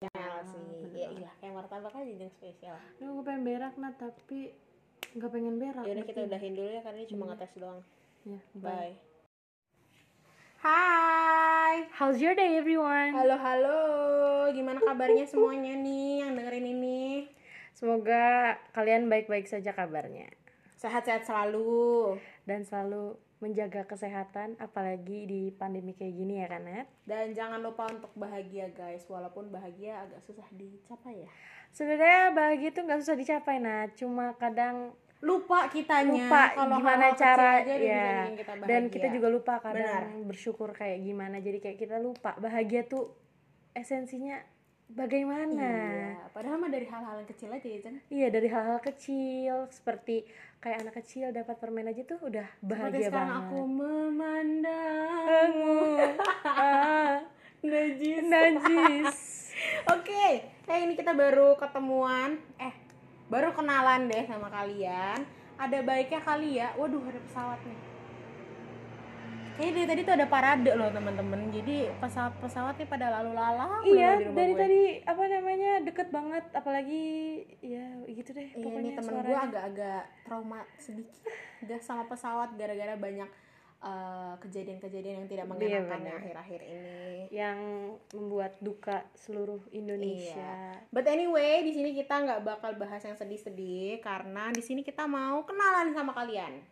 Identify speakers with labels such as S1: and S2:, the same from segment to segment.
S1: Ah,
S2: Iya, Ya martabaknya jenjang kan spesial
S1: Duh, gue pengen berak nah tapi nggak pengen berak.
S2: yaudah kita
S1: berarti.
S2: udahin dulu ya karena ini cuma ngetes doang
S1: Ya, Hmm. bye.
S2: bye Hai
S1: How's your day everyone?
S2: Halo halo, gimana kabarnya semuanya nih yang dengerin ini?
S1: Semoga kalian baik-baik saja kabarnya
S2: Sehat-sehat selalu
S1: dan selalu menjaga kesehatan apalagi di pandemi kayak gini ya kan Nat?
S2: dan jangan lupa untuk bahagia guys, walaupun bahagia agak susah dicapai ya.
S1: Sebenarnya bahagia itu nggak susah dicapai Nat, cuma kadang
S2: Lupa kitanya
S1: lupa
S2: kalau
S1: gimana
S2: hal-hal kecil
S1: cara
S2: aja dia bisa
S1: ya
S2: bikin kita
S1: dan
S2: bahagia. Iya,
S1: kita juga lupa kadang
S2: Benar.
S1: bersyukur kayak gimana jadi kayak kita lupa bahagia tuh esensinya bagaimana
S2: Iya, padahal mah dari hal-hal yang kecil aja ya, Jen.
S1: Iya dari hal-hal kecil seperti kayak anak kecil dapat permen aja tuh udah
S2: Seperti
S1: bahagia
S2: sekarang
S1: banget.
S2: aku memandang
S1: Ah,
S2: najis.
S1: najis.
S2: Oke, nah ini kita baru ketemuan, eh baru kenalan deh sama kalian. Ada baiknya kali ya. Waduh, ada pesawat nih. Kayaknya dari tadi tuh ada parade loh teman-teman. Jadi pesawat-pesawatnya pada lalu lalang.
S1: iya dari tadi apa namanya deket banget apalagi ya gitu deh
S2: Iya
S1: pokoknya
S2: nih temen gue
S1: suaranya.
S2: agak-agak trauma sedikit Udah sama pesawat gara-gara banyak eh, kejadian-kejadian yang tidak mengenakan
S1: Iya, benar.
S2: ya akhir-akhir ini.
S1: yang membuat duka seluruh Indonesia.
S2: But anyway, di sini kita nggak bakal bahas yang sedih-sedih karena di sini kita mau kenalan sama kalian.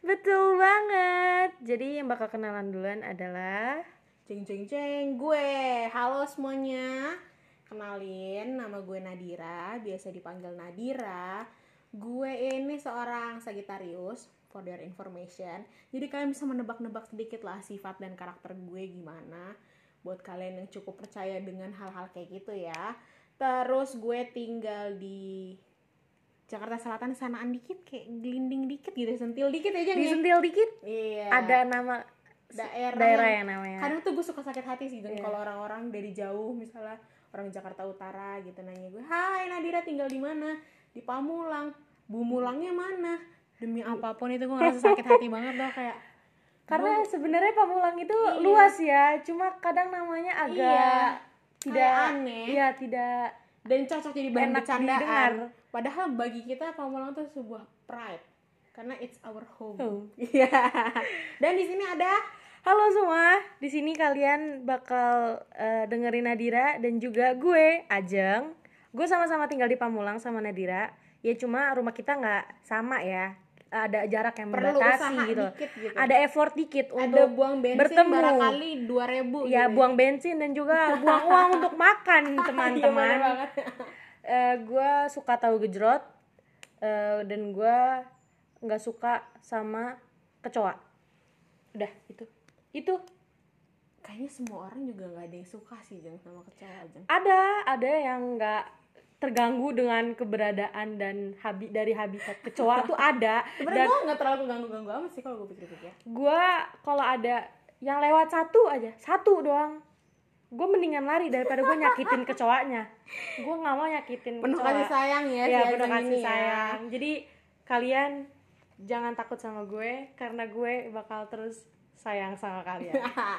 S1: Betul banget. Jadi yang bakal kenalan duluan adalah
S2: Jeng jeng jeng, gue. Halo semunya. Kenalin, nama gue Nadira, biasa dipanggil Nadira. Gue ini seorang Sagittarius, for their information. Jadi kalian bisa menebak-nebak sedikit lah sifat dan karakter gue gimana. Buat kalian yang cukup percaya dengan hal-hal kayak gitu ya. Terus gue tinggal di Jakarta Selatan sanaan dikit kayak gelinding dikit gitu sentil dikit aja nih.
S1: disentil dikit
S2: Iya.
S1: ada nama
S2: daerah,
S1: daerah
S2: yang-
S1: yang namanya.
S2: kadang tuh gue suka sakit hati sih dan
S1: Iya.
S2: kalau orang-orang dari jauh misalnya orang Jakarta Utara gitu nanya gue Hai Nadira tinggal di mana di Pamulang Bumulangnya mana demi apapun itu gue ngerasa sakit hati banget loh kayak
S1: Karena sebenarnya Pamulang itu
S2: Iya.
S1: luas ya, cuma kadang
S2: Iya,
S1: namanya agak tidak
S2: kayak aneh.
S1: Iya, tidak
S2: dan cocok jadi bahan
S1: Enak
S2: bercandaan
S1: didengar.
S2: padahal bagi kita Pamulang tuh sebuah pride karena it's our
S1: Oh.
S2: home Iya dan di sini ada
S1: Halo semua, di sini kalian bakal eh, dengerin Nadira dan juga gue, Ajeng. Gue sama-sama tinggal di Pamulang sama Nadira. Ya cuma rumah kita nggak sama ya. Ada jarak yang
S2: Perlu
S1: membatasi
S2: usaha
S1: gitu.
S2: dikit gitu.
S1: Ada effort dikit
S2: ada iya.
S1: untuk
S2: buang bensin
S1: bertemu.
S2: barangkali gitu 2000
S1: ya buang bensin dan juga buang uang untuk
S2: Iya,
S1: makan teman-teman. gue Eh, suka tahu gejrot eh, dan gue nggak suka sama kecoa. Udah itu itu
S2: kayaknya semua orang juga nggak ada yang suka sih jeng sama kecoa jeng
S1: ada ada yang nggak terganggu dengan keberadaan dan habi dari habitat kecoa tuh ada
S2: sebenarnya
S1: dan
S2: gue nggak terlalu ganggu ganggu amat sih kalau gue pikir-pikir
S1: gue kalau ada yang lewat satu aja satu doang gue mendingan lari daripada gue nyakitin kecoanya gue nggak mau nyakitin
S2: penuh
S1: kecoa.
S2: kasih sayang ya,
S1: ya
S2: si
S1: bener
S2: Ajeng
S1: kasih
S2: ini ya.
S1: sayang jadi kalian jangan takut sama gue karena gue bakal terus sayang sama kalian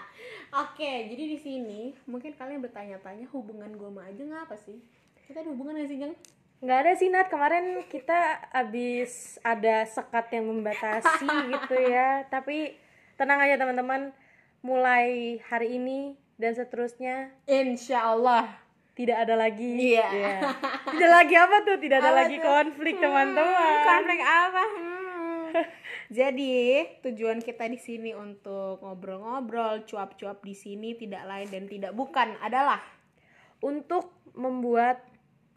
S2: oke jadi di sini mungkin kalian bertanya-tanya hubungan gue sama Ajeng apa sih kita ada hubungan gak sih jeng
S1: nggak ada sih Nat kemarin kita abis ada sekat yang membatasi gitu ya tapi tenang aja teman-teman mulai hari ini dan seterusnya
S2: insyaallah
S1: tidak ada lagi
S2: Iya.
S1: Iya. tidak lagi apa tuh tidak ada
S2: Apa
S1: lagi
S2: tuh?
S1: konflik
S2: Hmm,
S1: teman-teman
S2: konflik apa? Hmm. Jadi tujuan kita di sini untuk ngobrol-ngobrol, cuap-cuap di sini tidak lain dan tidak bukan adalah
S1: untuk membuat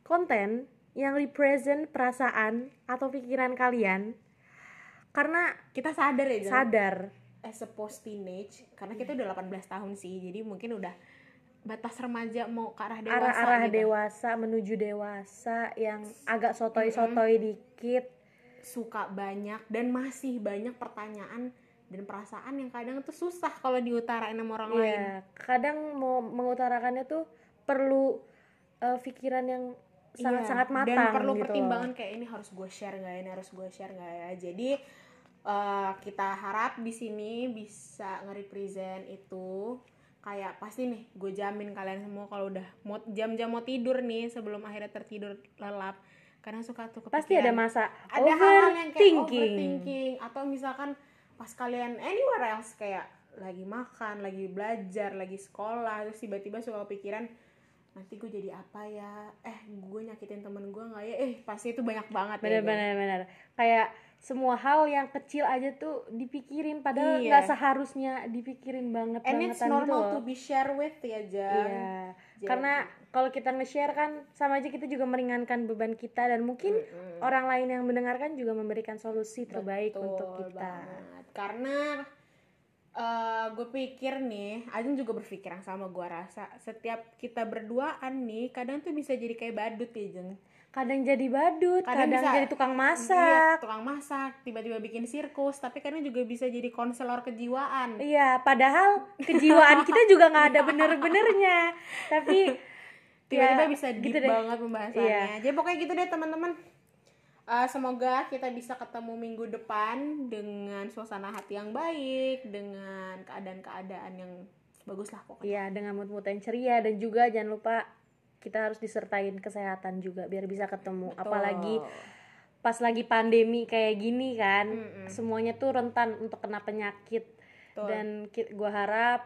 S1: konten yang represent perasaan atau pikiran kalian karena
S2: kita sadar ya Jeng?
S1: sadar
S2: as a post teenage karena
S1: Hmm.
S2: kita udah 18 tahun sih jadi mungkin udah batas remaja mau ke arah dewasa
S1: arah-arah
S2: gitu.
S1: dewasa menuju dewasa yang agak sotoi-sotoi dikit
S2: suka banyak dan masih banyak pertanyaan dan perasaan yang kadang tuh susah kalau diutarain sama orang lain
S1: Iya, kadang mau mengutarakannya tuh perlu eh, pikiran yang
S2: Iya,
S1: sangat-sangat matang
S2: dan perlu
S1: gitu
S2: pertimbangan
S1: loh.
S2: kayak ini harus gue share nggak ya ini harus gue share nggak ya jadi eh, kita harap di sini bisa nge-represent itu kayak pasti nih gue jamin kalian semua kalau udah mau jam-jam mau tidur nih sebelum akhirnya tertidur lelap karena suka tuh kepikiran
S1: Pasti ada masa
S2: ada hal yang kayak
S1: overthinking.
S2: overthinking atau misalkan pas kalian anywhere else kayak lagi makan, lagi belajar, lagi sekolah terus tiba-tiba suka kepikiran nanti gue jadi apa ya eh gue nyakitin temen gue nggak ya eh pasti itu banyak banget ya, guys.
S1: Benar-benar benar. Kayak semua hal yang kecil aja tuh dipikirin padahal
S2: Iya.
S1: nggak seharusnya dipikirin banget
S2: and
S1: bangetan
S2: it's
S1: gitu
S2: normal
S1: loh.
S2: to be shared with ya Jang
S1: Iya.
S2: Jadi-
S1: Karena kalau kita nge-share kan sama aja kita juga meringankan beban kita dan mungkin orang lain yang mendengarkan juga memberikan solusi terbaik
S2: Betul
S1: untuk kita.
S2: banget. Karena eh, gue pikir nih, Ajeng juga berpikir yang sama gue rasa. Setiap kita berduaan nih, kadang tuh bisa jadi kayak badut ya, Jeng.
S1: Kadang jadi badut,
S2: Kadang
S1: kadang,
S2: bisa-
S1: jadi tukang
S2: Iya,
S1: masak.
S2: tukang masak, tiba-tiba bikin sirkus, tapi kadang juga bisa jadi konselor kejiwaan.
S1: Iya, padahal kejiwaan kita juga nggak ada bener-benernya. Tapi
S2: Tiba-tiba
S1: ya,
S2: bisa deep
S1: gitu deh. Iya.
S2: banget pembahasannya. Jadi pokoknya gitu deh teman-teman. Eh, semoga kita bisa ketemu minggu depan dengan suasana hati yang baik, dengan keadaan-keadaan yang bagus lah pokoknya.
S1: Iya, dengan mood-mood yang ceria dan juga jangan lupa kita harus disertain kesehatan juga biar bisa ketemu. Iya, Apalagi
S2: Betul.
S1: pas lagi pandemi kayak gini kan,
S2: Mm-mm.
S1: semuanya tuh rentan untuk kena penyakit.
S2: Hmm. Betul.
S1: Dan ki- gua harap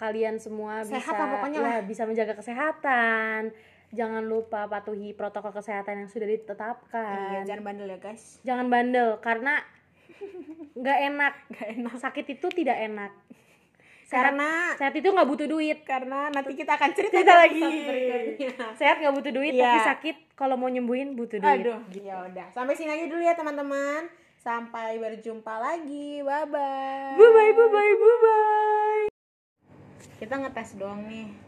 S1: kalian semua
S2: Sehat
S1: bisa
S2: lah pokoknya
S1: ya, bisa menjaga kesehatan. Jangan lupa patuhi protokol kesehatan yang sudah
S2: Iya,
S1: ditetapkan.
S2: jangan bandel ya guys.
S1: jangan bandel karena nggak enak.
S2: Gak enak.
S1: Sakit itu tidak enak. Sehat,
S2: Karena
S1: sehat itu nggak butuh duit.
S2: karena nanti kita akan cerita,
S1: Cerita
S2: di
S1: lagi.
S2: episode berikutnya.
S1: sehat nggak butuh duit
S2: Iya.
S1: tapi sakit kalau mau nyembuhin butuh duit
S2: Aduh, ya udah. Sampai sini aja dulu ya teman-teman. Sampai berjumpa lagi. Bye bye.
S1: bye bye bye bye bye
S2: Kita ngetes doang nih.